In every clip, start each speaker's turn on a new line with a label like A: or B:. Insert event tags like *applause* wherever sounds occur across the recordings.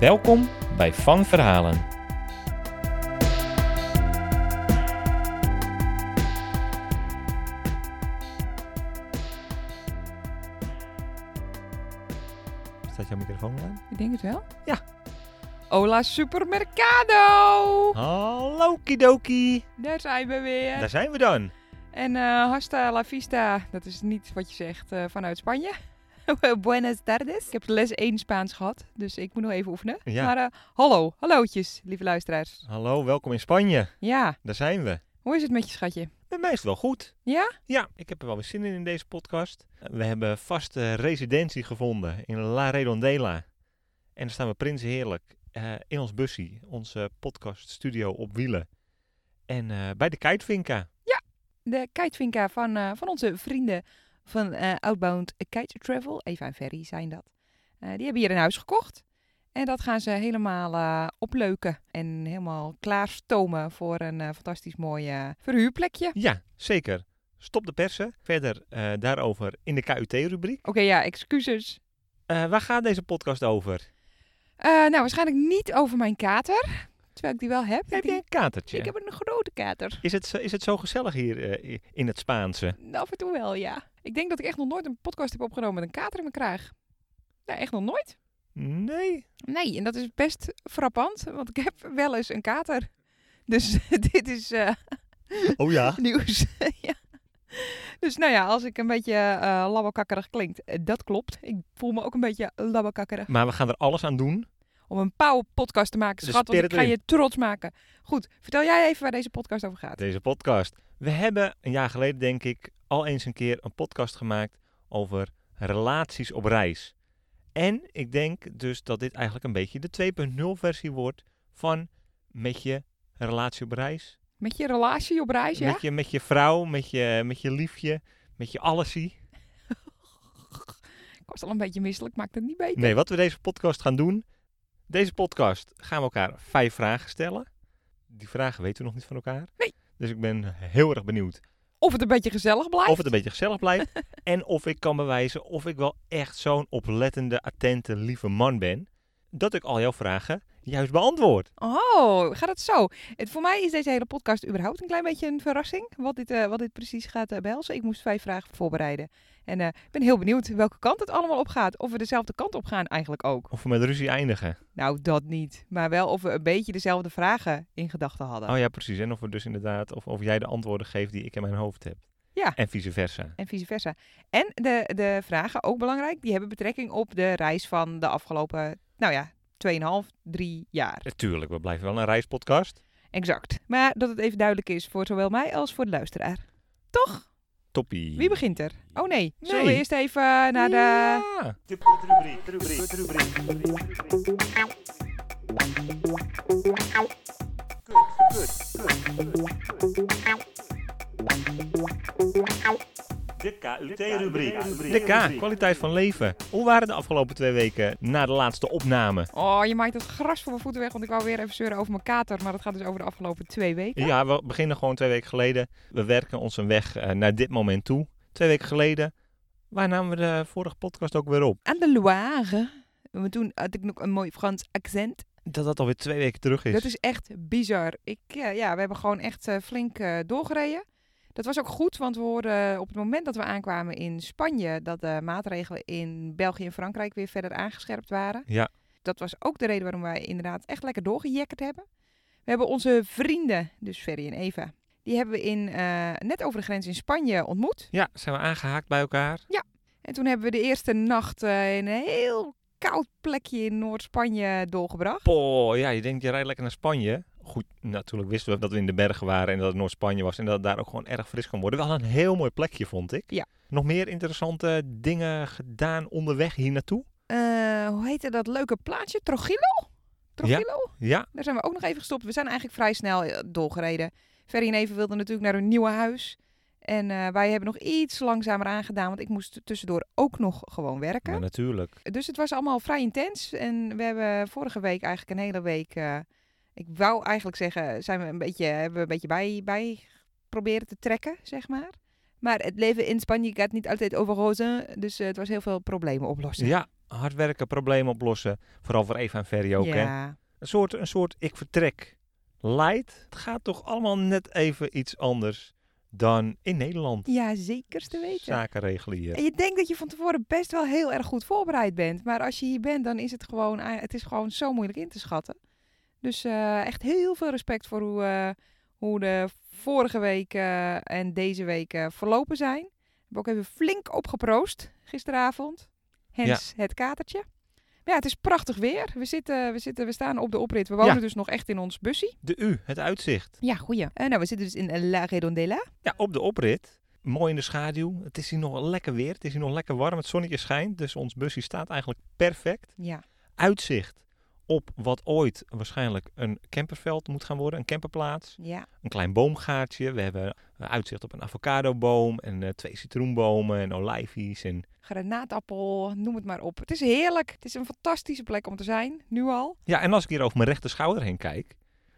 A: Welkom bij Van Verhalen. Staat jouw microfoon aan?
B: Ik denk het wel.
A: Ja.
B: Hola Supermercado!
A: Hallo Kidoki!
B: Daar zijn we weer.
A: Daar zijn we dan.
B: En eh, hasta la vista, dat is niet wat je zegt eh,
A: *laughs*
B: vanuit Spanje. Buenas tardes. Ik heb les 1 Spaans gehad, dus ik moet nog even oefenen.
A: Ja.
B: Maar eh, hallo, hallootjes, lieve luisteraars.
A: Hallo, welkom in Spanje.
B: Ja,
A: Daar zijn we.
B: hoe is het met je schatje?
A: Bij mij is het wel goed.
B: Ja?
A: Ja, ik heb er wel weer zin in in deze podcast. We hebben vaste residentie gevonden in La Redondela. En daar staan we prins heerlijk eh, in ons bussie, onze podcaststudio op wielen. En eh, bij de Kijtvinka.
B: de kitevinka van, eh, van onze vrienden van eh, Outbound Kite Travel. Eva en Ferry zijn dat. Eh, die hebben hier een huis gekocht. En dat gaan ze helemaal eh, opleuken en helemaal klaarstomen voor een eh, fantastisch mooi eh, verhuurplekje.
A: Ja, zeker. Stop de persen. Verder eh, daarover in de KUT-rubriek.
B: Oké, ja, excuses.
A: Eh, waar gaat deze podcast over?
B: Eh, nou, waarschijnlijk niet over mijn kater, terwijl ik die wel heb.
A: Heb jij een katertje?
B: Ik heb een grote kater. Nou,
A: Is, het, zo- is het zo gezellig hier eh, in het Spaanse?
B: Af en toe wel, ja. Ik denk dat ik echt nog nooit een podcast heb opgenomen met een kater in mijn kraag. Nou, echt nog nooit.
A: Nee,
B: *laughs* Nee, en dat is best frappant, want ik heb wel eens een kater. Dus *laughs* dit is eh,
A: *laughs* Oh ja.
B: nieuws. *laughs* ja. Dus nou ja, als ik een beetje eh labbekakkerig klinkt, eh, dat klopt. Ik voel me ook een beetje labbekakkerig.
A: Maar we gaan er alles aan doen.
B: Om een power podcast te maken,
A: De
B: schat, want ik
A: spirit
B: ga
A: Dus erin.
B: je trots maken. Goed, vertel jij even waar deze podcast over gaat.
A: Deze podcast. We hebben een jaar geleden, denk ik, al eens een keer een podcast gemaakt over relaties op reis. En ik denk dus dat dit eigenlijk een beetje de 2.0 versie wordt van met je relatie op reis.
B: Met je relatie op reis, ja?
A: Met, je, met je vrouw, met je, met je liefje, met je allesie.
B: Ik was al een beetje misselijk, maakt het niet beter.
A: Nee, wat we deze podcast gaan doen. Deze podcast gaan we elkaar vijf vragen stellen. Die vragen weten we nog niet van elkaar.
B: Nee.
A: Dus ik ben heel erg benieuwd
B: Of het een beetje gezellig blijft.
A: Of het een beetje gezellig blijft.
B: *laughs*
A: en of ik kan bewijzen of ik wel echt zo'n oplettende, attente, lieve man ben. Dat ik al jouw vragen juist beantwoord.
B: Oh, gaat het zo? Het, voor mij is deze hele podcast überhaupt een klein beetje een verrassing. Wat dit, eh, wat dit precies gaat eh, behelzen. Ik moest vijf vragen voorbereiden. En eh, ik ben heel benieuwd welke kant het allemaal op gaat. Of we dezelfde kant op gaan eigenlijk ook.
A: Of we met ruzie eindigen.
B: Nou, dat niet. Maar wel of we een beetje dezelfde vragen in gedachten hadden.
A: Oh ja, precies. En of we dus inderdaad, of, of jij de antwoorden geeft die ik in mijn hoofd heb.
B: Ja.
A: En vice versa.
B: En vice versa. En de, de vragen, ook belangrijk, die hebben betrekking op de reis van de afgelopen, nou ja, 2,5, 3 jaar.
A: Natuurlijk, we blijven wel een reispodcast.
B: Exact. Maar dat het even duidelijk is voor zowel mij als voor de luisteraar. Toch?
A: Toppie.
B: Wie begint er? Oh nee. Zullen we
A: Nee.
B: eerst even eh, naar de...
A: Ja.
C: De KUT-rubriek.
A: De K, kwaliteit van leven. Hoe waren de afgelopen twee weken na de laatste opname?
B: Oh, je maakt het gras voor mijn voeten weg, want ik wou weer even zeuren over mijn kater. Maar dat gaat dus over de afgelopen twee weken.
A: Ja, we beginnen gewoon twee weken geleden. We werken ons een weg eh, naar dit moment toe. Twee weken geleden, waar namen we de vorige podcast ook weer op?
B: Aan de Loire. Maar toen had ik nog een mooi Frans accent.
A: Dat dat alweer twee weken terug is.
B: Dat is echt bizar. Ik, eh, ja, we hebben gewoon echt eh, flink eh, doorgereden. Dat was ook goed, want we hoorden op het moment dat we aankwamen in Spanje... dat de maatregelen in België en Frankrijk weer verder aangescherpt waren.
A: Ja.
B: Dat was ook de reden waarom wij inderdaad echt lekker doorgejekkerd hebben. We hebben onze vrienden, dus Ferry en Eva... die hebben we in, eh, net over de grens in Spanje ontmoet.
A: Ja, zijn we aangehaakt bij elkaar.
B: En toen hebben we de eerste nacht eh, in een heel koud plekje in Noord-Spanje doorgebracht.
A: Poh, ja, je denkt je rijdt lekker naar Spanje. Goed, natuurlijk wisten we dat we in de bergen waren en dat het Noord-Spanje was. En dat het daar ook gewoon erg fris kan worden. Wel een heel mooi plekje, vond ik.
B: Ja.
A: Nog meer interessante dingen gedaan onderweg hier naartoe?
B: Eh, hoe heette dat leuke plaatsje? Trujillo? Trujillo.
A: Ja,
B: Daar zijn we ook nog even gestopt. We zijn eigenlijk vrij snel eh, doorgereden. Ferry en Even wilden natuurlijk naar hun nieuwe huis. En eh, wij hebben nog iets langzamer aangedaan, want ik moest tussendoor ook nog gewoon werken.
A: maar natuurlijk.
B: Dus het was allemaal vrij intens. En we hebben vorige week eigenlijk een hele week. eh, ik wou eigenlijk zeggen, zijn we een beetje, hebben we een beetje bij, bij proberen te trekken, zeg maar. Maar het leven in Spanje gaat niet altijd over rozen. Dus eh, het was heel veel problemen oplossen.
A: Ja, hard werken, problemen oplossen. Vooral voor Eva en Ferry ook, hè.
B: Ja.
A: Een soort, een soort ik vertrek. Light. Het gaat toch allemaal net even iets anders dan in Nederland.
B: ja, zeker te weten.
A: Zaken regelen hier.
B: En je denkt dat je van tevoren best wel heel erg goed voorbereid bent. Maar als je hier bent, dan is het gewoon, eh, het is gewoon zo moeilijk in te schatten. Dus eh, echt heel veel respect voor hoe, eh, hoe de vorige week eh, en deze week eh, verlopen zijn. Ik heb ook even flink opgeproost gisteravond. Hens het katertje. Maar ja, het is prachtig weer. We, zitten, we, zitten, we staan op de oprit. We wonen
A: Ja.
B: dus nog echt in ons bussie.
A: De U, het uitzicht.
B: Ja, goeie. Eh, nou, we zitten dus in La Redondela.
A: Ja, op de oprit. Mooi in de schaduw. Het is hier nog lekker weer. Het is hier nog lekker warm. Het zonnetje schijnt. Dus ons busje staat eigenlijk perfect.
B: Ja.
A: Uitzicht op wat ooit waarschijnlijk een camperveld moet gaan worden. Een camperplaats.
B: ja.
A: Een klein boomgaatje. We hebben eh, uitzicht op een avocadoboom. En eh, twee citroenbomen. En olijfies. En
B: granaatappel, noem het maar op. Het is heerlijk. Het is een fantastische plek om te zijn, nu al.
A: Ja, en als ik hier over mijn rechter schouder heen kijk,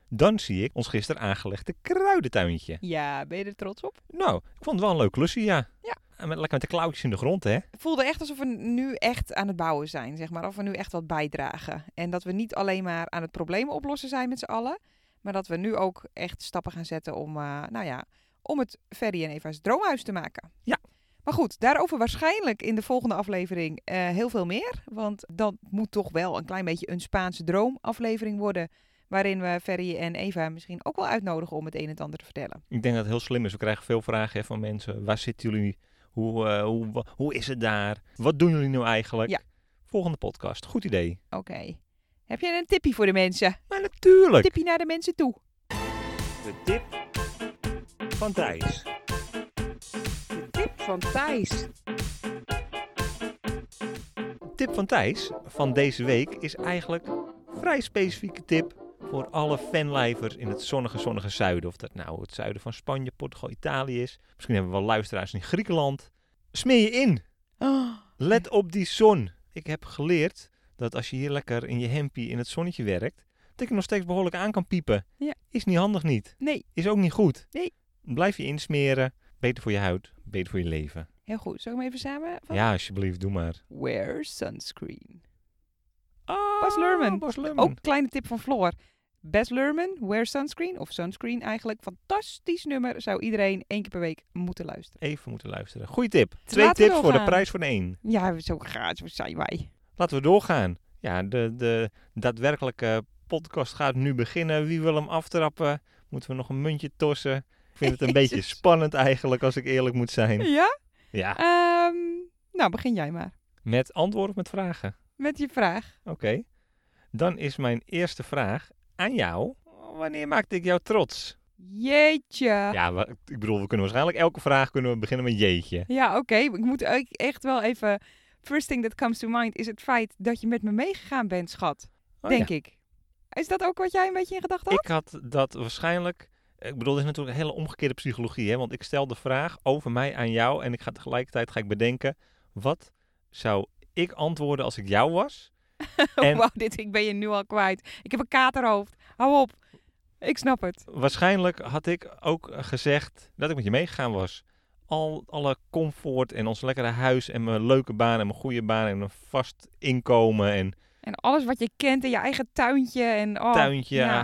A: dan zie ik ons gisteren aangelegde kruidentuintje.
B: Ja, ben je er trots op?
A: Nou, ik vond het wel een leuk klusje, ja.
B: Ja.
A: En met, lekker met de klauwtjes in de grond, hè?
B: Het voelde echt alsof we nu echt aan het bouwen zijn, zeg maar. Of we nu echt wat bijdragen. En dat we niet alleen maar aan het probleem oplossen zijn met z'n allen. Maar dat we nu ook echt stappen gaan zetten om, eh, nou ja, om het Ferry en Eva's droomhuis te maken.
A: Ja.
B: Maar goed, daarover waarschijnlijk in de volgende aflevering eh, heel veel meer. Want dat moet toch wel een klein beetje een Spaanse droomaflevering worden. Waarin we Ferry en Eva misschien ook wel uitnodigen om het een en het ander te vertellen.
A: Ik denk dat het heel slim is. We krijgen veel vragen hè, van mensen. Waar zitten jullie? Hoe, eh, hoe, wa- hoe is het daar? Wat doen jullie nou eigenlijk?
B: Ja.
A: Volgende podcast. Goed idee.
B: Oké. Heb jij een tippie voor de mensen?
A: Maar natuurlijk.
B: Tippie naar de mensen toe.
C: De tip van Thijs.
B: Tip van Thijs.
A: tip van Thijs van deze week is eigenlijk een vrij specifieke tip voor alle fanlijvers in het zonnige, zonnige zuiden. Of dat nou het zuiden van Spanje, Portugal, Italië is. Misschien hebben we wel luisteraars in Griekenland. Smeer je in. Oh. Let op die zon. Ik heb geleerd dat als je hier lekker in je hempie in het zonnetje werkt, dat je nog steeds behoorlijk aan kan piepen.
B: Ja.
A: Is niet handig niet.
B: Nee,
A: Is ook niet goed.
B: Nee.
A: Blijf je insmeren. Beter voor je huid, beter voor je leven.
B: heel goed. Zal ik hem even samen? van-
A: Ja, alsjeblieft, doe maar.
B: Wear sunscreen.
A: Ah,
B: Oh, Bas Lerman.
A: Bas Lerman. Oh.
B: Ook kleine tip van Floor. Best Lerman, Wear Sunscreen, of Sunscreen eigenlijk. Fantastisch nummer. Zou iedereen één keer per week moeten luisteren.
A: even moeten luisteren. Goeie tip. Twee
B: laten we
A: tips voor de
B: doorgaan.
A: prijs van één.
B: Ja, zo gaat, zo zijn wij.
A: Laten we doorgaan. Ja, de, de daadwerkelijke podcast gaat nu beginnen. Wie wil hem aftrappen? Moeten we nog een muntje tossen? Ik vind het
B: *laughs*
A: een beetje
B: Jezus.
A: spannend eigenlijk, als ik eerlijk moet zijn.
B: Ja?
A: Ja,
B: Ehm, nou, begin jij maar.
A: met antwoorden of met vragen?
B: Met je vraag.
A: Oké. Dan is mijn eerste vraag aan jou. Wanneer maakte ik jou trots?
B: Jeetje. Ja,
A: Ja, wa- ik bedoel, we kunnen waarschijnlijk elke vraag kunnen we beginnen met jeetje.
B: oké. Ik moet ook echt wel even... First thing that comes to mind is het feit dat je met me meegegaan bent, schat.
A: Oh, ja.
B: denk ik. Is dat ook wat jij een beetje in gedachten had?
A: Ik had dat waarschijnlijk. Ik bedoel, dit is natuurlijk een hele omgekeerde psychologie. Hè? Want ik stel de vraag over mij aan jou. En ik ga tegelijkertijd ga ik bedenken. Wat zou ik antwoorden als ik jou was?
B: *laughs*
A: en-
B: Oh, Wauw, dit ik ben je nu al kwijt. Ik heb een katerhoofd. Hou op. Ik snap het.
A: Waarschijnlijk had ik ook eh, gezegd dat ik met je meegegaan was. Al alle comfort en ons lekkere huis en mijn leuke baan en mijn goede baan en een vast inkomen en
B: En alles wat je kent in je eigen tuintje en oh,
A: tuintje, eh,
B: ja.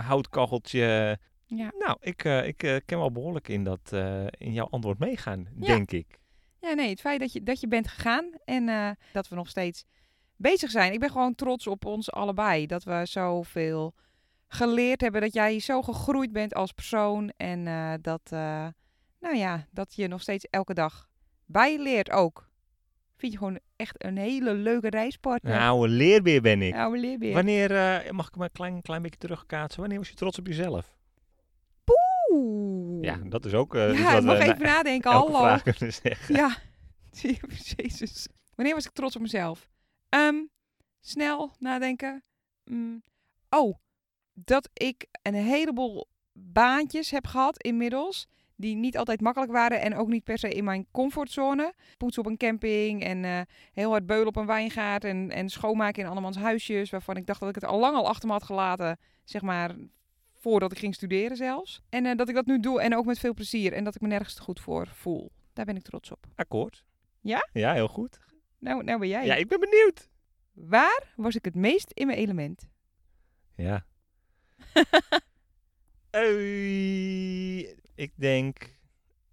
A: houtkacheltje.
B: Ja.
A: Nou, ik, eh, ik eh, ken wel behoorlijk in, dat, eh, in jouw antwoord meegaan,
B: Ja.
A: denk ik.
B: Ja, nee, het feit dat je, dat je bent gegaan en eh, dat we nog steeds bezig zijn. Ik ben gewoon trots op ons allebei. Dat we zoveel geleerd hebben. Dat jij zo gegroeid bent als persoon. En eh, dat, eh, nou ja, dat je nog steeds elke dag bijleert ook. Vind je gewoon echt een hele leuke reispartner.
A: Een oude leerbeer ben Nou, ik.
B: Oude leerbeer.
A: Wanneer, eh, mag ik maar een klein, klein beetje terugkaatsen, wanneer was je trots op jezelf?
B: Oeh.
A: Ja, dat is ook eh, iets
B: ja,
A: wat
B: ik mag
A: we
B: even
A: bij
B: nadenken.
A: elke
B: Hallo.
A: vraag kunnen zeggen.
B: Ja, *laughs* jezus. Wanneer was ik trots op mezelf? Ehm, snel nadenken. Mm. Oh, dat ik een heleboel baantjes heb gehad inmiddels. Die niet altijd makkelijk waren en ook niet per se in mijn comfortzone. Poets op een camping en eh, heel hard beulen op een wijngaard. En, en schoonmaken in andermans huisjes. Waarvan ik dacht dat ik het al lang al achter me had gelaten. Zeg maar voordat ik ging studeren zelfs. En eh, dat ik dat nu doe en ook met veel plezier. En dat ik me nergens te goed voor voel. Daar ben ik trots op.
A: Akkoord.
B: Ja?
A: Ja, heel goed.
B: Nou, nou ben jij.
A: Ja, ik ben benieuwd.
B: Waar was ik het meest in mijn element?
A: *laughs* Ja. Ui, ik denk...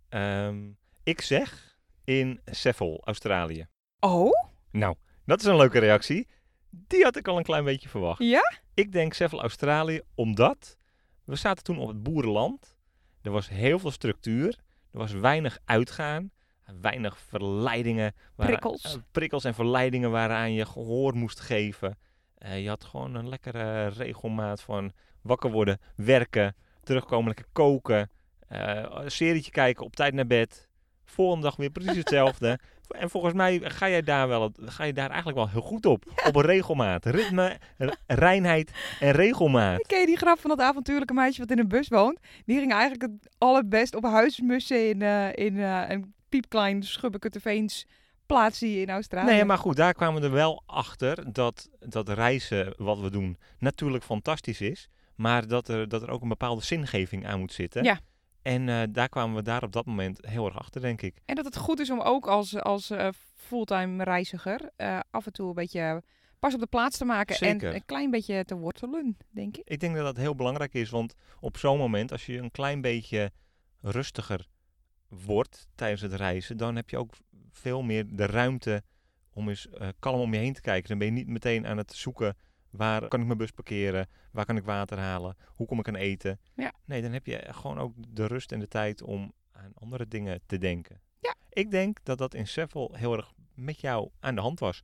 A: ehm, ik zeg in Seffel, Australië.
B: Oh?
A: Nou, dat is een leuke reactie. Die had ik al een klein beetje verwacht.
B: Ja?
A: Ik denk Seffel, Australië, omdat we zaten toen op het boerenland. Er was heel veel structuur. Er was weinig uitgaan. Weinig verleidingen. waar-
B: Prikkels.
A: eh, prikkels en verleidingen waaraan je gehoor moest geven. Eh, je had gewoon een lekkere regelmaat van wakker worden, werken, terugkomen, lekker koken, eh, een serietje kijken, op tijd naar bed. Volgende dag weer precies hetzelfde. en volgens mij ga jij daar, wel, ga je daar eigenlijk wel heel goed op. Op regelmaat. Ritme, r- reinheid en regelmaat.
B: Ken je die grap van dat avontuurlijke meisje wat in een bus woont? Die ging eigenlijk het allerbest op huismussen in, eh, in eh, een piepklein schubbeketeveens plaatsje in Australië.
A: Nee, maar goed, daar kwamen we er wel achter dat, dat reizen wat we doen natuurlijk fantastisch is. Maar dat er, dat er ook een bepaalde zingeving aan moet zitten.
B: Ja.
A: En eh, daar kwamen we daar op dat moment heel erg achter, denk ik.
B: En dat het goed is om ook als, als eh, fulltime reiziger eh, af en toe een beetje pas op de plaats te maken.
A: Zeker.
B: En een klein beetje te wortelen, denk ik.
A: Ik denk dat dat heel belangrijk is, want op zo'n moment, als je een klein beetje rustiger wordt tijdens het reizen, dan heb je ook veel meer de ruimte om eens eh, kalm om je heen te kijken. Dan ben je niet meteen aan het zoeken waar kan ik mijn bus parkeren, waar kan ik water halen, hoe kom ik aan eten.
B: Ja.
A: Nee, dan heb je gewoon ook de rust en de tijd om aan andere dingen te denken.
B: Ja.
A: Ik denk dat dat in Seffel heel erg met jou aan de hand was.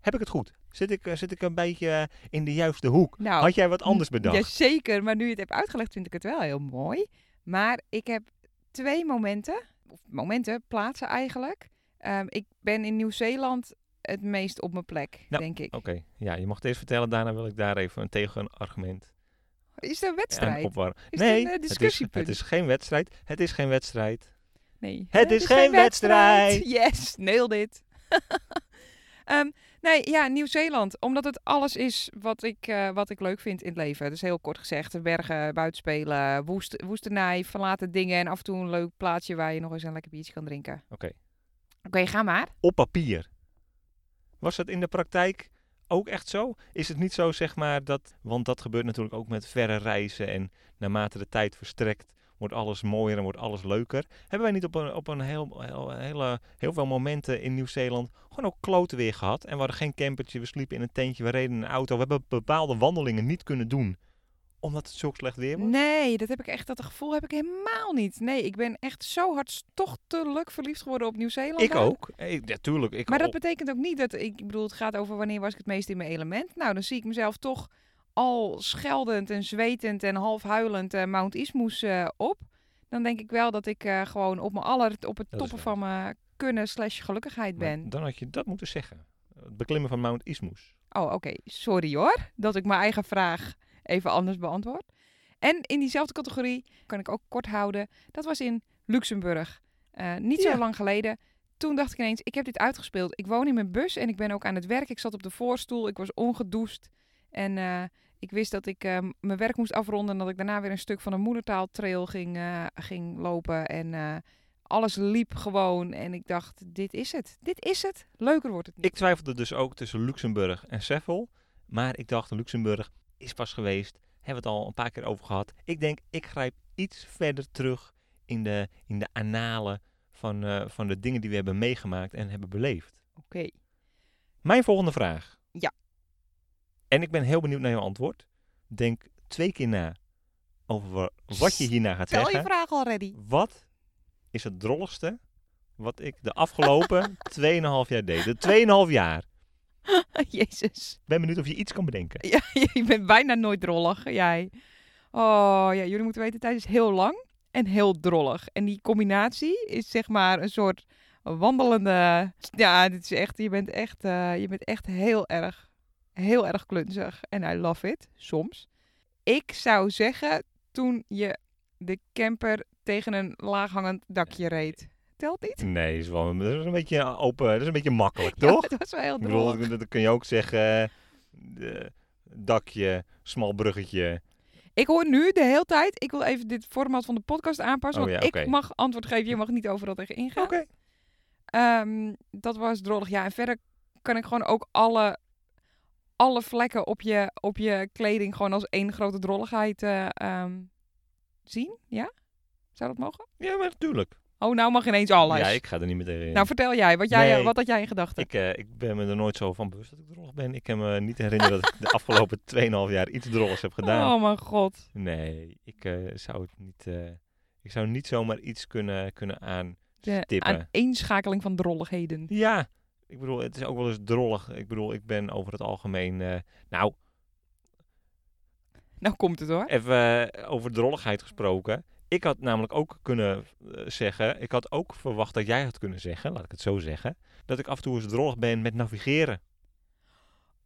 A: Heb ik het goed? Zit ik, eh, zit ik een beetje eh, in de juiste hoek?
B: Nou,
A: Had jij wat anders bedacht?
B: Jazeker, maar nu je het hebt uitgelegd vind ik het wel heel mooi. Maar ik heb twee momenten, of momenten, plaatsen eigenlijk. Ehm, ik ben in Nieuw-Zeeland het meest op mijn plek,
A: Nou,
B: denk ik.
A: Oké, ja, je mag het eerst vertellen. Daarna wil ik daar even een tegenargument
B: Is er een
A: aan
B: wedstrijd?
A: opwarmen.
B: Is dit
A: nee,
B: een, eh,
A: het, is,
B: discussiepunt?
A: het is geen wedstrijd. Het is geen wedstrijd.
B: Nee.
A: Het is geen
B: Yes, nail *laughs* dit. nee, ja, Nieuw-Zeeland. Omdat het alles is wat ik, eh, wat ik leuk vind in het leven. Dus heel kort gezegd, bergen, buitenspelen, woest, woestenij, verlaten dingen. En af en toe een leuk plaatsje waar je nog eens een lekker biertje kan drinken.
A: Oké,
B: Oké, ga maar.
A: op papier. Was dat in de praktijk ook echt zo? Is het niet zo, zeg maar, dat... Want dat gebeurt natuurlijk ook met verre reizen. En naarmate de tijd verstrekt, wordt alles mooier en wordt alles leuker. Hebben wij niet op een, op een heel, heel, hele- heel veel momenten in Nieuw-Zeeland gewoon ook kloten weer gehad? En we hadden geen campertje, we sliepen in een tentje, we reden in een auto. We hebben bepaalde wandelingen niet kunnen doen, omdat het zo slecht weer was.
B: Nee, dat heb ik echt, dat gevoel heb ik helemaal niet. Nee, ik ben echt zo hartstochtelijk verliefd geworden op Nieuw-Zeeland.
A: Ik
B: daar.
A: ook. Eh, Oh. Ik, ja, tuurlijk. Ik
B: Maar dat
A: ook.
B: betekent ook niet dat ik, ik bedoel, het gaat over wanneer was ik het meest in mijn element. Nou, dan zie ik mezelf toch al scheldend en zwetend en half huilend eh, Mount Ismoes eh, op. Dan denk ik wel dat ik eh, gewoon op mijn aller, op het
A: is
B: toppen
A: waar.
B: van mijn kunnen slash gelukkigheid
A: Maar
B: ben.
A: Dan had je dat moeten zeggen. Het beklimmen van Mount Ismus.
B: Oh, oké. Sorry hoor, dat ik mijn eigen vraag even anders beantwoord. En in diezelfde categorie kan ik ook kort houden. Dat was in Luxemburg. Eh, niet
A: Ja.
B: zo lang geleden. Toen dacht ik ineens, ik heb dit uitgespeeld. Ik woon in mijn bus en ik ben ook aan het werk. Ik zat op de voorstoel, ik was ongedoucht. En eh, ik wist dat ik eh, mijn werk moest afronden. En dat ik daarna weer een stuk van een moedertaaltrail ging, eh, ging lopen. En eh, alles liep gewoon. En ik dacht, dit is het. Dit is het. Leuker wordt het niet.
A: Ik twijfelde dus ook tussen Luxemburg en Seffel. Maar ik dacht, Luxemburg is pas geweest. Hebben we het al een paar keer over gehad. Ik denk, ik grijp iets verder terug in de, in de analen van, eh, van de dingen die we hebben meegemaakt en hebben beleefd.
B: Oké.
A: Mijn volgende vraag.
B: Ja.
A: En ik ben heel benieuwd naar jouw antwoord. Denk twee keer na over wa- wat je hierna gaat
B: Stel
A: zeggen.
B: je vraag al ready.
A: Wat is het drolligste wat ik de
B: *laughs*
A: afgelopen 2,5 jaar deed? De 2,5 jaar.
B: *laughs* Jezus.
A: Ik ben benieuwd of je iets kan bedenken.
B: Ja, *laughs* ik ben bijna nooit drollig, jij. Oh ja, jullie moeten weten, tijd is heel lang en heel drollig. En die combinatie is zeg maar een soort wandelende... Ja, dit is echt, je bent echt, eh, je bent echt heel erg, heel erg klunzig. En I love it, soms. Ik zou zeggen, toen je de camper tegen een laaghangend dakje reed. Telt niet?
A: Nee, is wel, dat is een beetje open, dat is een beetje makkelijk,
B: *laughs* Ja,
A: toch?
B: dat was wel heel
A: Ik bedoel,
B: droog.
A: dat, dat kun je ook zeggen, eh, dakje, smal bruggetje.
B: Ik hoor nu de hele tijd, ik wil even dit format van de podcast aanpassen.
A: Oh
B: want
A: ja,
B: ik
A: oké.
B: mag antwoord geven, je mag niet overal tegen ingaan. Ehm, dat was drollig. Ja, en verder kan ik gewoon ook alle, alle vlekken op je, op je kleding gewoon als één grote drolligheid eh, ehm, zien. Ja? Zou dat mogen?
A: Ja, maar natuurlijk.
B: Oh, nou mag ineens alles.
A: Ja, ik ga er niet meer tegen in.
B: Nou, vertel jij. Wat, jij,
A: Nee.
B: wat had jij in gedachten?
A: ik, eh, ik ben me er nooit zo van bewust dat ik drollig ben. Ik kan me niet herinneren dat ik de *laughs* afgelopen 2,5 jaar iets drolligs heb gedaan.
B: Oh mijn god.
A: Nee, ik eh, zou het niet. eh, ik zou niet zomaar iets kunnen, kunnen aan.
B: De
A: Stippen.
B: aaneenschakeling van drolligheden.
A: Ja, ik bedoel, het is ook wel eens drollig. Ik bedoel, ik ben over het algemeen. eh, nou,
B: Nou komt het hoor.
A: even eh, over drolligheid gesproken. Ik had namelijk ook kunnen eh, zeggen. Ik had ook verwacht dat jij had kunnen zeggen, laat ik het zo zeggen. Dat ik af en toe eens drollig ben met navigeren.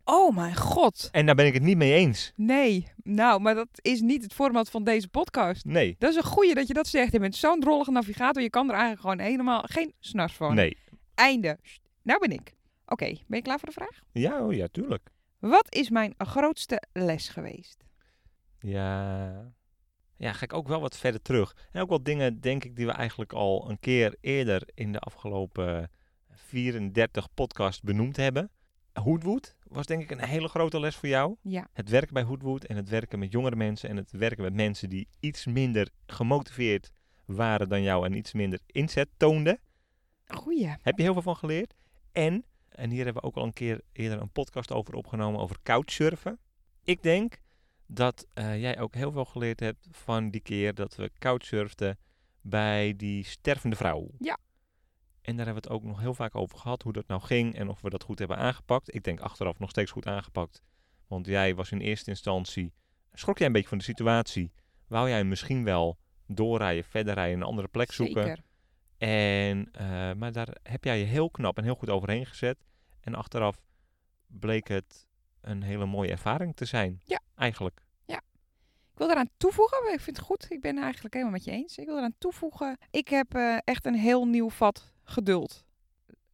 B: Oh mijn god.
A: En daar ben ik het niet mee eens.
B: Nee. Nou, maar dat is niet het format van deze podcast.
A: Nee.
B: Dat is een goeie dat je dat zegt. Je bent zo'n drollige navigator. Je kan er eigenlijk gewoon helemaal geen snars van.
A: Nee.
B: Einde. Sst, nou ben ik. Oké, ben je klaar voor de vraag?
A: Ja, oh ja, tuurlijk.
B: Wat is mijn grootste les geweest?
A: Ja. Ja, ga ik ook wel wat verder terug. En ook wel dingen, denk ik, die we eigenlijk al een keer eerder in de afgelopen 34 podcast benoemd hebben. Hoedwood was denk ik een hele grote les voor jou.
B: Ja.
A: Het werken bij Hoedwood en het werken met jongere mensen en het werken met mensen die iets minder gemotiveerd waren dan jou en iets minder inzet toonden.
B: Goeie.
A: Heb je heel veel van geleerd. En, en hier hebben we ook al een keer eerder een podcast over opgenomen, over couchsurfen. Ik denk dat eh, jij ook heel veel geleerd hebt van die keer dat we couchsurfden bij die stervende vrouw.
B: Ja.
A: En daar hebben we het ook nog heel vaak over gehad, hoe dat nou ging en of we dat goed hebben aangepakt. Ik denk achteraf nog steeds goed aangepakt. Want jij was in eerste instantie, schrok jij een beetje van de situatie. Wou jij misschien wel doorrijden, verder rijden, een andere plek zoeken.
B: Zeker.
A: En, eh, maar daar heb jij je heel knap en heel goed overheen gezet. En achteraf bleek het een hele mooie ervaring te zijn.
B: Ja.
A: Eigenlijk.
B: Ik wil daaraan toevoegen, maar ik vind het goed. Ik ben het eigenlijk helemaal met je eens. Ik wil eraan toevoegen. Ik heb eh, echt een heel nieuw vat geduld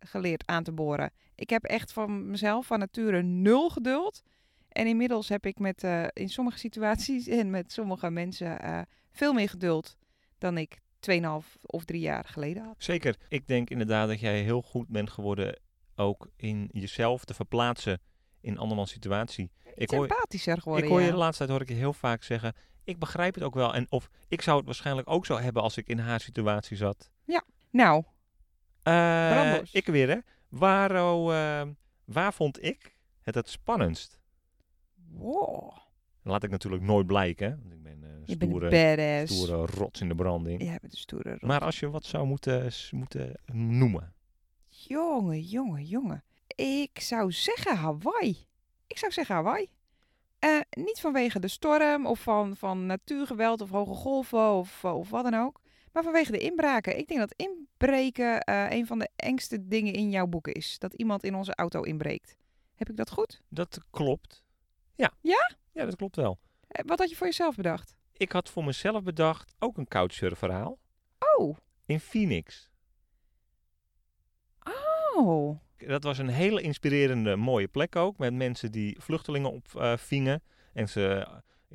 B: geleerd aan te boren. Ik heb echt van mezelf van nature nul geduld. En inmiddels heb ik met, eh, in sommige situaties *laughs* en met sommige mensen eh, veel meer geduld dan ik 2,5 of drie jaar geleden had.
A: Zeker. Ik denk inderdaad dat jij heel goed bent geworden ook in jezelf te verplaatsen in andermans situatie. Ik hoor,
B: Empathischer geworden.
A: ik hoor je
B: ja.
A: de laatste tijd hoor ik je heel vaak zeggen, ik begrijp het ook wel. En of ik zou het waarschijnlijk ook zo hebben als ik in haar situatie zat.
B: Nou,
A: Eh,
B: Brandlos.
A: ik weer hè. Waar, oh, eh, waar vond ik het het spannendst?
B: wow.
A: Laat ik natuurlijk nooit blijken. hè, Want ik ben eh
B: je bent een
A: stoere,
B: badass.
A: stoere rots in de branding.
B: Jij bent een stoere rot.
A: Maar als je wat zou moeten, s- moeten noemen.
B: Jongen, jongen, jongen. Ik zou zeggen Hawaii. Ik zou zeggen Hawaii. Eh, niet vanwege de storm of van, van natuurgeweld of hoge golven of, eh, of wat dan ook. Maar vanwege de inbraken. Ik denk dat inbreken eh, een van de engste dingen in jouw boeken is. Dat iemand in onze auto inbreekt. Heb ik dat goed?
A: Dat klopt. Ja.
B: Ja?
A: Ja, dat klopt wel.
B: Eh, wat had je voor jezelf bedacht?
A: Ik had voor mezelf bedacht ook een couchsurf verhaal.
B: Oh,
A: In Phoenix.
B: oh.
A: Dat was een hele inspirerende, mooie plek ook. Met mensen die vluchtelingen opvingen. en ze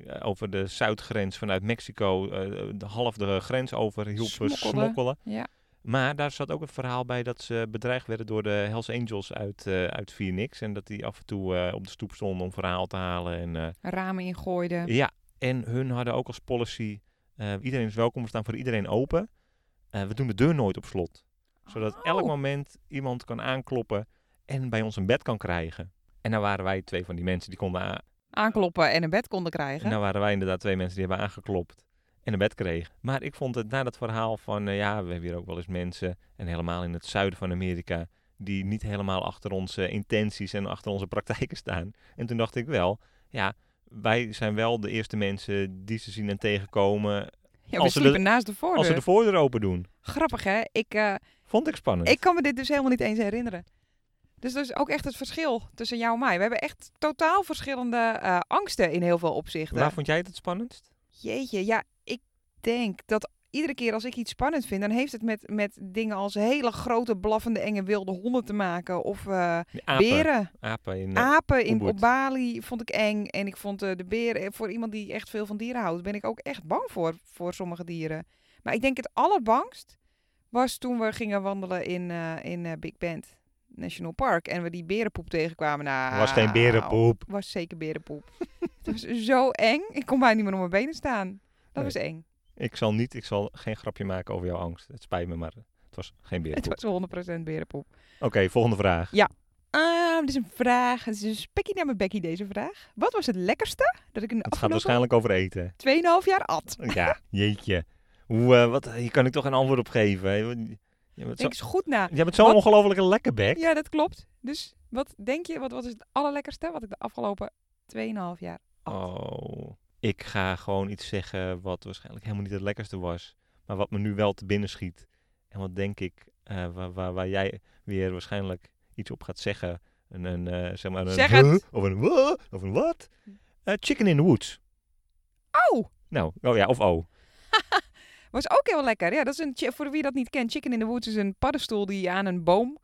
A: eh, over de zuidgrens vanuit Mexico eh, de half de grens over hielpen
B: Smokkelden.
A: smokkelen.
B: Ja.
A: Maar daar zat ook het verhaal bij dat ze bedreigd werden door de Hells Angels uit, eh, uit Phoenix. En dat die af en toe eh, op de stoep stonden om verhaal te halen. En, eh,
B: Ramen ingooiden.
A: ja, en hun hadden ook als policy, eh, iedereen is welkom, we staan voor iedereen open. Eh, we doen de deur nooit op slot. Zodat elk
B: Oh.
A: moment iemand kan aankloppen en bij ons een bed kan krijgen. En nou waren wij twee van die mensen die konden a-
B: Aankloppen en een bed konden krijgen.
A: en nou waren wij inderdaad twee mensen die hebben aangeklopt en een bed kregen. Maar ik vond het na dat verhaal van, eh, ja, we hebben hier ook wel eens mensen, en helemaal in het zuiden van Amerika, die niet helemaal achter onze intenties en achter onze praktijken staan. En toen dacht ik wel, ja, wij zijn wel de eerste mensen die ze zien en tegenkomen
B: ja, we
A: als ze de-
B: sliepen naast de voordeur.
A: als ze de voordeur open doen.
B: Grappig hè? Ik, eh,
A: Vond ik spannend.
B: ik kan me dit dus helemaal niet eens herinneren. Dus dat is ook echt het verschil tussen jou en mij. We hebben echt totaal verschillende eh, angsten in heel veel opzichten.
A: Waar vond jij het het spannendst?
B: Jeetje, ja, ik denk dat iedere keer als ik iets spannend vind, dan heeft het met, met dingen als hele grote, blaffende, enge wilde honden te maken. Of eh,
A: Die Apen.
B: beren,
A: Apen in, eh,
B: apen in,
A: Ubud.
B: op Bali vond ik eng. En ik vond eh, de beren, eh, voor iemand die echt veel van dieren houdt, ben ik ook echt bang voor, voor sommige dieren. Maar ik denk het allerbangst was toen we gingen wandelen in, eh, in eh, Big Bend National Park. En we die berenpoep tegenkwamen. Nou,
A: was geen berenpoep.
B: was zeker berenpoep. *laughs* het was zo eng. Ik kon bijna niet meer op mijn benen staan. Dat
A: Nee.
B: was eng.
A: Ik zal niet, ik zal geen grapje maken over jouw angst. Het spijt me, maar het was geen
B: Het
A: berenpoep.
B: was 100% berenpoep.
A: Oké, volgende vraag.
B: Ah, dit is een vraag. Het is een spekkie naar mijn bekkie deze vraag. Wat was het lekkerste dat ik in de
A: Het gaat
B: afgelopen
A: waarschijnlijk over eten.
B: *laughs* 2,5 jaar at?
A: Ja, jeetje. Hoe, eh, wat, hier kan ik toch een antwoord op geven. hè? Je bent zo-
B: Denk eens goed na.
A: Jij bent zo'n
B: Wat?
A: ongelofelijke lekkerbek.
B: Ja, dat klopt. Dus wat denk je, wat, wat is het allerlekkerste wat ik de afgelopen 2,5 jaar at?
A: Oh, ik ga gewoon iets zeggen wat waarschijnlijk helemaal niet het lekkerste was. Maar wat me nu wel te binnen schiet. En wat denk ik, eh, wa- wa- waar, jij weer waarschijnlijk iets op gaat zeggen. Een, een, eh, zeg maar een
B: Zeg het!
A: huh, Of een huh, of een wat? Eh, chicken in the woods.
B: Oh,
A: Nou, oh ja, of oh.
B: was ook heel lekker. Ja, dat is een, chi- voor wie dat niet kent, Chicken in the Woods is een paddenstoel die aan een boom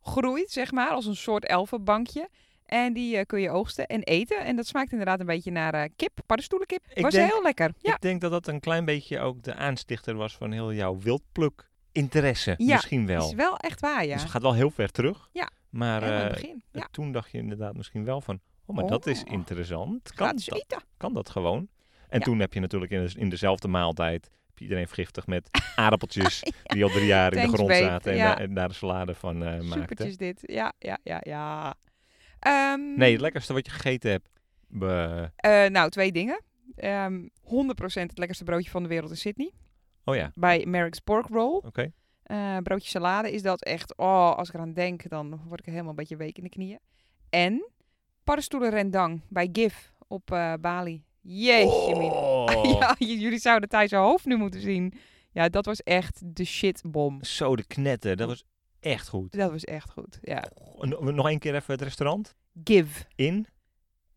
B: groeit, zeg maar, als een soort elfenbankje. En die eh, kun je oogsten en eten. En dat smaakt inderdaad een beetje naar eh, kip, paddenstoelenkip.
A: Ik
B: was
A: denk-
B: heel lekker. Ja,
A: Ik denk dat dat een klein beetje ook de aanstichter was van heel jouw wildpluk interesse.
B: Ja,
A: misschien wel.
B: is wel echt waar, ja.
A: Dus het gaat wel heel ver terug.
B: Ja.
A: Maar
B: Helemaal in het
A: eh,
B: begin. Ja,
A: toen dacht je inderdaad misschien wel van, oh, maar dat is
B: Oh.
A: interessant. Kan
B: gaat
A: dat,
B: eten.
A: kan dat gewoon. En
B: Ja.
A: toen heb je natuurlijk in, de- in dezelfde maaltijd heb je iedereen vergiftigd
B: *laughs*
A: met aardappeltjes die al drie jaar in de
B: Thanks,
A: grond
B: babe.
A: zaten en,
B: Ja.
A: daar- en daar de salade van eh maakten.
B: Supertjes dit. Ja, ja, ja, ja. Ehm,
A: Nee, het lekkerste wat je gegeten hebt. Be-
B: eh, nou, twee dingen. Ehm 100% het lekkerste broodje van de wereld in Sydney.
A: Oh ja,
B: Bij Merrick's Pork Roll.
A: oké.
B: Eh, broodje salade is dat echt... Oh, als ik eraan denk, dan word ik helemaal een beetje week in de knieën. En paddenstoelen rendang bij GIF op eh, Bali. Jeetje, mina.
A: Oh.
B: *laughs* Ja, j- jullie zouden Thijs zijn hoofd nu moeten zien. Ja, dat was echt de shitbom.
A: Zo de knetter, dat was echt goed.
B: Dat was echt goed, ja.
A: Goh, en Nog één keer even het restaurant
B: Give.
A: in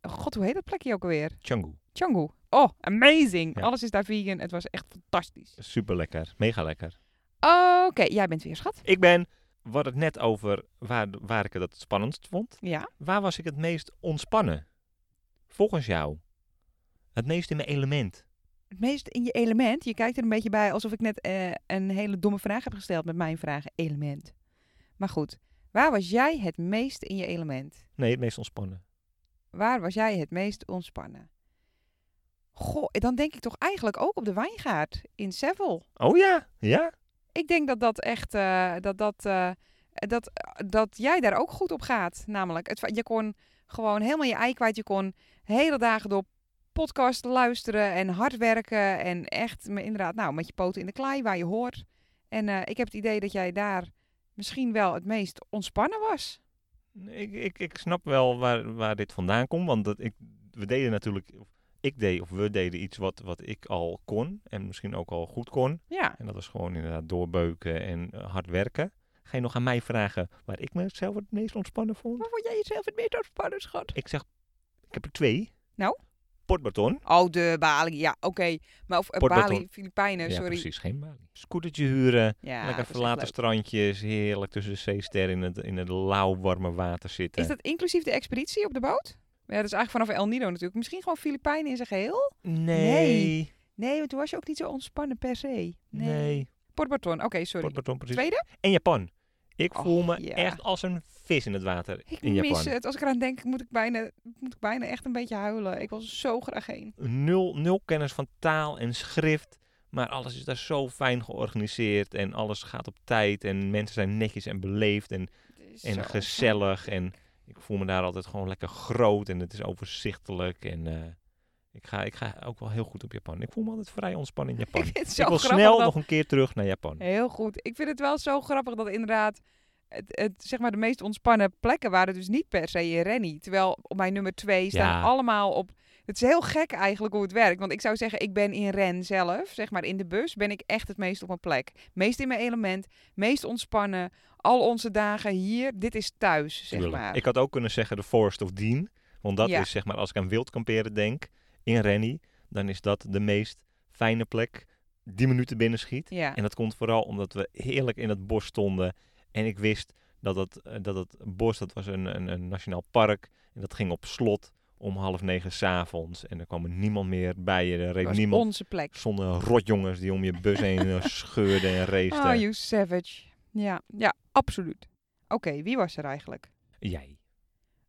B: Oh, God, hoe heet dat plekje ook alweer?
A: Canggu.
B: Canggu. Oh, amazing.
A: Ja.
B: Alles is daar vegan. Het was echt fantastisch.
A: Super lekker, mega lekker.
B: Oké, jij bent weer schat.
A: Ik ben, wat het net over waar, waar ik het het spannendst vond.
B: Ja.
A: Waar was ik het meest ontspannen? Volgens jou. Het meest in mijn element.
B: Het meest in je element. Je kijkt er een beetje bij alsof ik net eh, een hele domme vraag heb gesteld met mijn vragen element. Maar goed, waar was jij het meest in je element?
A: Nee, het meest ontspannen.
B: Waar was jij het meest ontspannen? Goh, dan denk ik toch eigenlijk ook op de wijngaard in Seville.
A: Oh ja? Ja?
B: Ik denk dat dat echt, eh, dat, dat, eh, dat, eh, dat jij daar ook goed op gaat. Namelijk, het, fa- je kon gewoon helemaal je ei kwijt. Je kon hele dagen door podcast luisteren en hard werken. En echt, me- inderdaad, nou, met je poten in de klei waar je hoort. En eh, ik heb het idee dat jij daar misschien wel het meest ontspannen was.
A: Ik, ik, ik snap wel waar, waar dit vandaan komt. Want dat ik, we deden natuurlijk... of Ik deed of we deden iets wat, wat ik al kon. En misschien ook al goed kon.
B: Ja.
A: En dat was gewoon inderdaad doorbeuken en eh, hard werken. Ga je nog aan mij vragen waar ik mezelf het meest ontspannen vond?
B: Waar vond jij jezelf het meest ontspannen, schat?
A: Ik zeg, ik heb er twee.
B: Nou?
A: Portbaton.
B: Oh, de Bali. Ja, oké. Maar of eh,
A: Port
B: Bali,
A: Baton.
B: Filipijnen,
A: ja,
B: sorry.
A: precies. Geen Bali. Scootertje huren.
B: Ja, dat
A: Lekker
B: is echt
A: verlaten
B: leuk.
A: strandjes, heerlijk tussen de zeester in het, in het lauw warme water zitten.
B: Is dat inclusief de expeditie op de boot? Ja, dat is eigenlijk vanaf El Nido natuurlijk. Misschien gewoon Filipijnen in zijn geheel?
A: Nee.
B: Nee. Nee, want toen was je ook niet zo ontspannen per se. Nee.
A: Nee.
B: Port Barton, oké, sorry.
A: Port Barton, precies.
B: Tweede?
A: En Japan. Ik
B: Och,
A: voel me
B: ja.
A: echt als een vis in het water
B: Ik
A: in
B: mis
A: Japan.
B: het. Als ik eraan denk, moet ik, bijna, moet ik bijna echt een beetje huilen. Ik wil zo graag heen.
A: Nul, nul kennis van taal en schrift. Maar alles is daar zo fijn georganiseerd. En alles gaat op tijd. En mensen zijn netjes en beleefd. En En
B: Zo.
A: gezellig. En ik voel me daar altijd gewoon lekker groot. En het is overzichtelijk. En eh, ik, ga, ik ga ook wel heel goed op Japan. Ik voel me altijd vrij ontspannen in Japan. Dus
B: *laughs* *laughs* Ik vind het zo
A: wil
B: grappig
A: snel
B: dat...
A: nog een keer terug naar Japan.
B: Heel goed. Ik vind het wel zo grappig dat inderdaad het, het, zeg maar, de meest ontspannen plekken waren dus niet per se in Rennie. Terwijl op mijn nummer twee staan
A: Ja.
B: allemaal op... Het is heel gek eigenlijk hoe het werkt. Want ik zou zeggen, ik ben in Ren zelf, zeg maar in de bus, ben ik echt het meest op mijn plek. Meest in mijn element, meest ontspannen. Al onze dagen hier, dit is thuis, zeg
A: Tuurlijk.
B: maar.
A: Ik had ook kunnen zeggen de Forest of Dean. Want dat
B: Ja.
A: is zeg maar, als ik aan wild kamperen denk in Rennie, dan is dat de meest fijne plek die me nu te binnen schiet.
B: Ja,
A: En dat komt vooral omdat we heerlijk in dat bos stonden. En ik wist dat het, eh, dat het bos, dat was een, een, een nationaal park. En dat ging op slot om half negen s'avonds. En er kwam er niemand meer bij je. Er
B: dat
A: reed
B: was
A: niemand
B: onze plek.
A: zonder rotjongens die om je bus heen
B: *laughs*
A: eh, scheurden en
B: Oh,
A: raceten.
B: you savage. Ja, ja absoluut. Oké, wie was er eigenlijk?
A: Jij.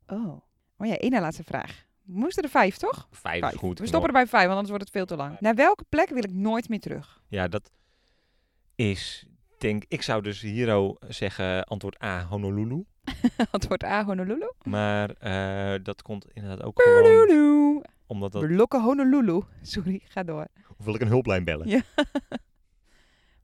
B: Oh. Oh ja, één na laatste vraag. We moesten er vijf, toch?
A: Vijf,
B: Vijf.
A: is goed.
B: We stoppen er bij vijf, want anders wordt het veel te lang. Naar welke plek wil ik nooit meer
A: *laughs*
B: terug?
A: Ja, dat is, denk ik, zou dus Hiro zeggen antwoord A, Honolulu.
B: Antwoord A, Honolulu.
A: Maar eh, dat komt inderdaad ook gewoon
B: Honolulu.
A: omdat dat...
B: We lokken Honolulu. *laughs* Sorry, ga door.
A: Of wil ik een hulplijn bellen?
B: Ja.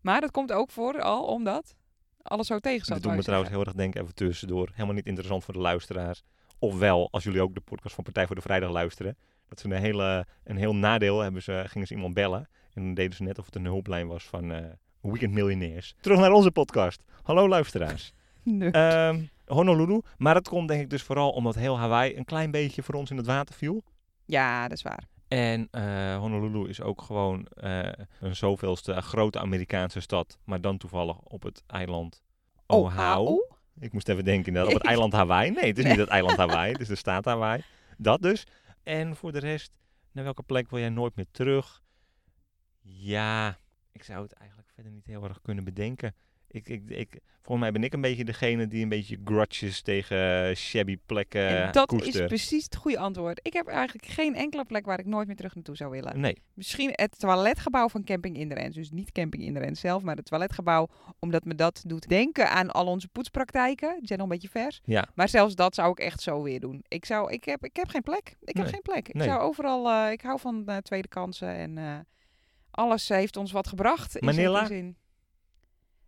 B: Maar dat komt ook voor al omdat alles zo tegen
A: Dat
B: zat.
A: doet me
B: wou je
A: trouwens heel erg denken, even tussendoor. Helemaal niet interessant voor de luisteraars. Ofwel, als jullie ook de podcast van Partij voor de Vrijdag luisteren. Dat ze een, hele, een heel nadeel hebben. Ze, gingen ze iemand bellen. En dan deden ze net of het een hulplijn was van eh, Weekend Millionaires. Terug naar onze podcast. Hallo luisteraars.
B: zeggen. *laughs* Nee.
A: Ehm, Honolulu. Maar dat komt denk ik dus vooral omdat heel Hawaii een klein beetje voor ons in het water viel.
B: Ja, dat is waar.
A: En eh, Honolulu is ook gewoon eh, een zoveelste eh, grote Amerikaanse stad. Maar dan toevallig op het eiland Oh, Oahu.
B: Oh, Oahu?
A: Ik moest even denken inderdaad,
B: *laughs*
A: op het eiland Hawaii. Nee, het is niet het eiland Hawaii, het is de staat Hawaii. Dat dus. En voor de rest, naar welke plek wil jij nooit meer terug? Ja, ik zou het eigenlijk verder niet heel erg kunnen bedenken. Ik, ik, ik, volgens mij ben ik een beetje degene die een beetje grudges tegen eh, shabby plekken
B: En dat
A: eh, koester.
B: is precies het goede antwoord. Ik heb eigenlijk geen enkele plek waar ik nooit meer terug naartoe zou willen.
A: Nee,
B: Misschien het toiletgebouw van Camping Inderens. Dus niet Camping Inderens zelf, maar het toiletgebouw. Omdat me dat doet denken aan al onze poetspraktijken. Die zijn nog een beetje vers.
A: ja.
B: Maar zelfs dat zou ik echt zo weer doen. Ik, zou, ik, heb, ik heb geen plek. Ik heb
A: Nee.
B: geen plek. Ik
A: Nee.
B: zou overal... eh, ik hou van eh, tweede kansen en... eh, alles heeft ons wat gebracht. in zekere
A: Manila?
B: zin.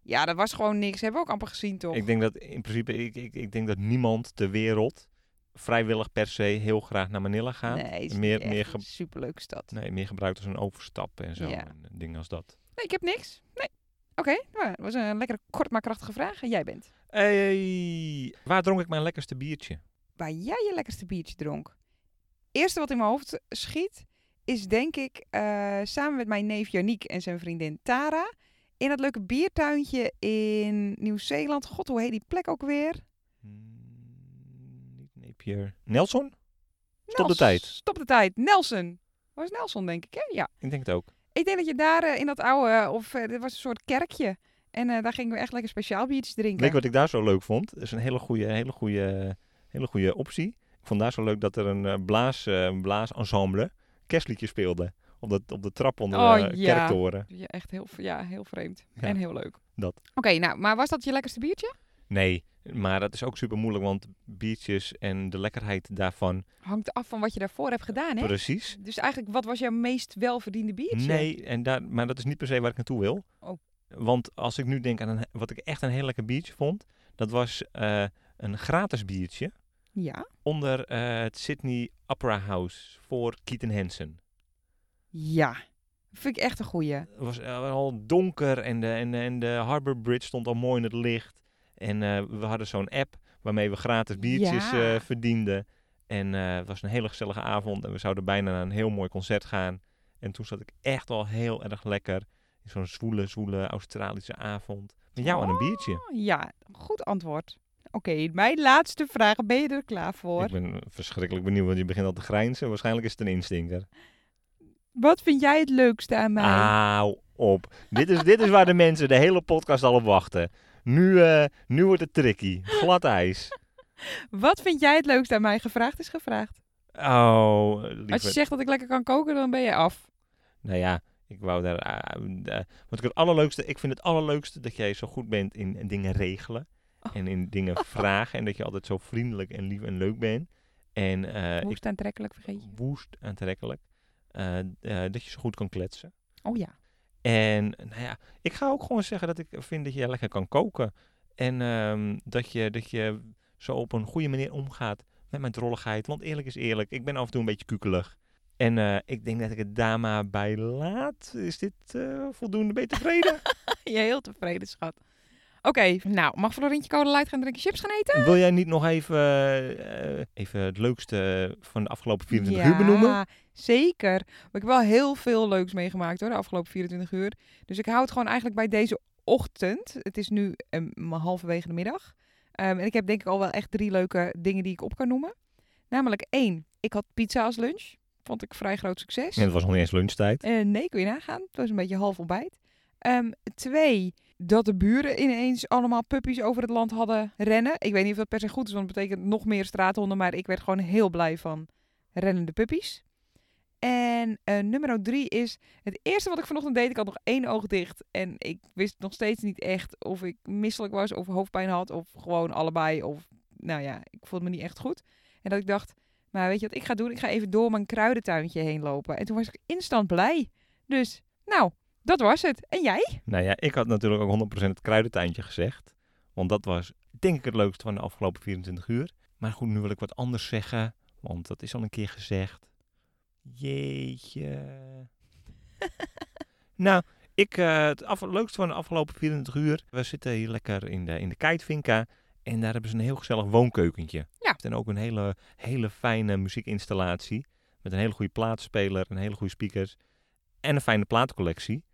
B: Ja, dat was gewoon niks. Hebben we ook amper gezien, toch?
A: Ik denk dat in principe, ik, ik, ik denk dat niemand ter wereld vrijwillig per se heel graag naar Manila gaat.
B: nee, het is
A: meer-
B: niet echt
A: meer
B: een
A: ge-
B: superleuke stad.
A: Nee, meer gebruikt als een overstap en zo.
B: Ja.
A: En eh, dingen als dat.
B: Nee, ik heb niks. Nee. Oké, nou, dat was een lekkere, kort maar krachtige vraag. En jij bent?
A: Hey, waar dronk ik mijn lekkerste biertje?
B: waar jij je lekkerste biertje dronk. Eerste wat in mijn hoofd schiet is denk ik eh, samen met mijn neef Janiek en zijn vriendin Tara in dat leuke biertuintje in Nieuw-Zeeland. God, hoe heet die plek ook weer?
A: Mm, Niet Napier. Nelson? Stop de
B: Nels-
A: tijd.
B: Stop de tijd. Nelson. Was Nelson denk ik, hè? Ja.
A: Ik denk het ook.
B: Ik denk dat je daar eh, in dat oude, of eh, dit was een soort kerkje. En eh, daar gingen we echt lekker speciaal biertjes drinken.
A: Weet je wat ik daar zo leuk vond? Dat is een hele goede, hele goede, hele goede optie. Ik vond daar zo leuk dat er een eh, blaas, eh, een blaasensemble kerstliedje speelde. Op de, op de trap onder
B: Oh,
A: de
B: ja.
A: kerktoren.
B: Ja, echt heel, ja, heel vreemd.
A: Ja.
B: En heel leuk.
A: Dat.
B: Oké, nou, maar was dat je lekkerste biertje?
A: Nee, maar dat is ook super moeilijk, want biertjes en de lekkerheid daarvan.
B: Hangt af van wat je daarvoor hebt gedaan, hè?
A: Precies.
B: Dus eigenlijk, wat was jouw meest welverdiende biertje?
A: Nee, en daar, maar dat is niet per se waar ik naartoe wil.
B: Oh.
A: Want als ik nu denk aan een, wat ik echt een heel lekker biertje vond, dat was eh, een gratis biertje
B: Ja.
A: onder eh, het Sydney Opera House voor Keaton Hansen.
B: Ja. Vind ik echt een goeie.
A: Het was eh, al donker en de, en, de- en de Harbour Bridge stond al mooi in het licht. En eh, we hadden zo'n app waarmee we gratis biertjes
B: Ja.
A: eh, verdienden. En eh, het was een hele gezellige avond en we zouden bijna naar een heel mooi concert gaan. En toen zat ik echt al heel erg lekker in zo'n zwoele, zwoele Australische avond. Met jou aan een biertje.
B: Oh, ja, goed antwoord. Oké, mijn laatste vraag. Ben je er klaar voor?
A: Ik ben verschrikkelijk benieuwd, want je begint al te grijnzen. Waarschijnlijk is het een instincter.
B: Wat vind jij het leukste aan mij?
A: Ah. Auw op. dit, is, dit is waar de mensen de hele podcast al op wachten. Nu, eh, nu wordt het tricky. Glad ijs.
B: Wat vind jij het leukste aan mij? Gevraagd is gevraagd.
A: Oh, lieverd.
B: Als je zegt dat ik lekker kan koken, dan ben je af.
A: Nou ja, ik wou daar... ah, eh, want ik, het allerleukste, ik vind het allerleukste dat jij zo goed bent in, in dingen regelen.
B: Oh.
A: En in *laughs* dingen vragen. En dat je altijd zo vriendelijk en lief en leuk bent. En eh,
B: Hoe aantrekkelijk, vergeet
A: ik,
B: je.
A: woest aantrekkelijk. Eh, eh, dat je zo goed kan kletsen.
B: Oh ja. *laughs*
A: En nou ja, ik ga ook gewoon zeggen dat ik vind dat jij lekker kan koken. En ehm, dat, je, dat je zo op een goede manier omgaat met mijn drolligheid. Want eerlijk is eerlijk, ik ben af en toe een beetje kukelig. En eh, ik denk dat ik het daar maar bij laat. Is dit eh, voldoende? Ben je tevreden?
B: Je heel tevreden, schat. Oké, nou, mag Florentje Code Light gaan drinken chips gaan eten?
A: Wil jij niet nog even, eh, eh, even het leukste van de afgelopen 24 uur benoemen?
B: zeker. Maar ik heb wel heel veel leuks meegemaakt hoor, de afgelopen 24 uur. Dus ik hou het gewoon eigenlijk bij deze ochtend. Het is nu ehm, maar halverwege de middag. Ehm, en ik heb denk ik al wel echt drie leuke dingen die ik op kan noemen. Namelijk één, ik had pizza als lunch. Vond ik vrij groot succes.
A: En het was nog niet eens lunchtijd.
B: Eh, nee, kun je nagaan. Het was een beetje half ontbijt. Ehm, twee, dat de buren ineens allemaal puppies over het land hadden rennen. Ik weet niet of dat per se goed is, want het betekent nog meer straathonden. Maar ik werd gewoon heel blij van rennende puppies. En eh nummer drie is het eerste wat ik vanochtend deed. Ik had nog één oog dicht. En ik wist nog steeds niet echt of ik misselijk was of hoofdpijn had. Of gewoon allebei. Of nou ja, ik voelde me niet echt goed. En dat ik dacht, maar weet je wat ik ga doen? Ik ga even door mijn kruidentuintje heen lopen. En toen was ik instant blij. Dus, nou, dat was het. En jij?
A: Nou ja, ik had natuurlijk ook 100% het kruidentuintje gezegd. Want dat was denk ik het leukste van de afgelopen 24 uur. Maar goed, nu wil ik wat anders zeggen. Want dat is al een keer gezegd. Jeetje. nou, ik, eh, het af- leukste van de afgelopen 24 uur. We zitten hier lekker in de, in de Keitvinka. En daar hebben ze een heel gezellig woonkeukentje.
B: Ja.
A: En ook een hele, hele fijne muziekinstallatie. Met een hele goede plaatspeler, een hele goede speakers. En een fijne plaatcollectie.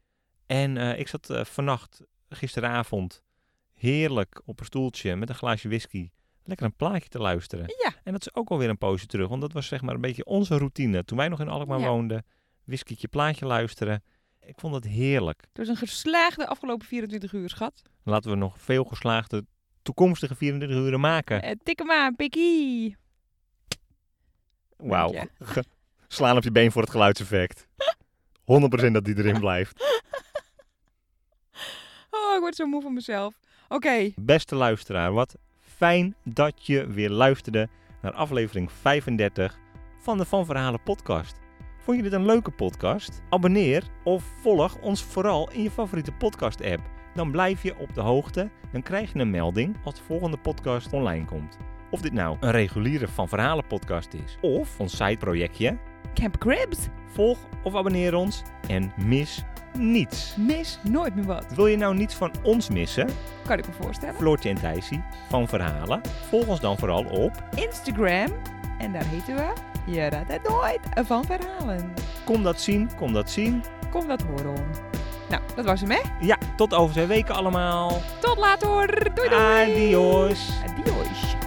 A: En eh, ik zat eh, vannacht, gisteravond, heerlijk op een stoeltje met een glaasje whisky. Lekker een plaatje te luisteren.
B: Ja.
A: En dat is ook alweer een poosje terug. Want dat was zeg maar een beetje onze routine. Toen wij nog in Alkmaar
B: Ja.
A: woonden. Whiskytje, plaatje luisteren. Ik vond dat heerlijk.
B: Het was een geslaagde afgelopen 24 uur, schat.
A: Laten we nog veel geslaagde toekomstige 24 uren maken.
B: Eh tik hem aan, pikkie.
A: Wauw.
B: Dank
A: Slaan op je been voor het
B: *laughs*
A: geluidseffect. 100% dat die erin blijft.
B: Oh, ik word zo moe van mezelf. Oké,
A: Beste luisteraar, wat fijn dat je weer luisterde naar aflevering 35 van de Van Verhalen podcast. Vond je dit een leuke podcast? Abonneer of volg ons vooral in je favoriete podcast app. Dan blijf je op de hoogte en krijg je een melding als de volgende podcast online komt. Of dit nou een reguliere Van Verhalen podcast is of ons sideprojectje.
B: Camp Cribs.
A: Volg of abonneer ons en mis niets.
B: Mis nooit meer wat.
A: Wil je nou niets van ons missen?
B: Kan ik me voorstellen.
A: Floortje en Thijsie van Verhalen. Volg ons dan vooral op.
B: Instagram. En daar heten we Je Raadt Het Nooit van Verhalen.
A: Kom dat zien, kom dat zien.
B: Kom dat horen. Nou, dat was hem, hè?
A: Ja, tot over twee weken allemaal.
B: Tot later. Doei, doei.
A: Adios.
B: Adios.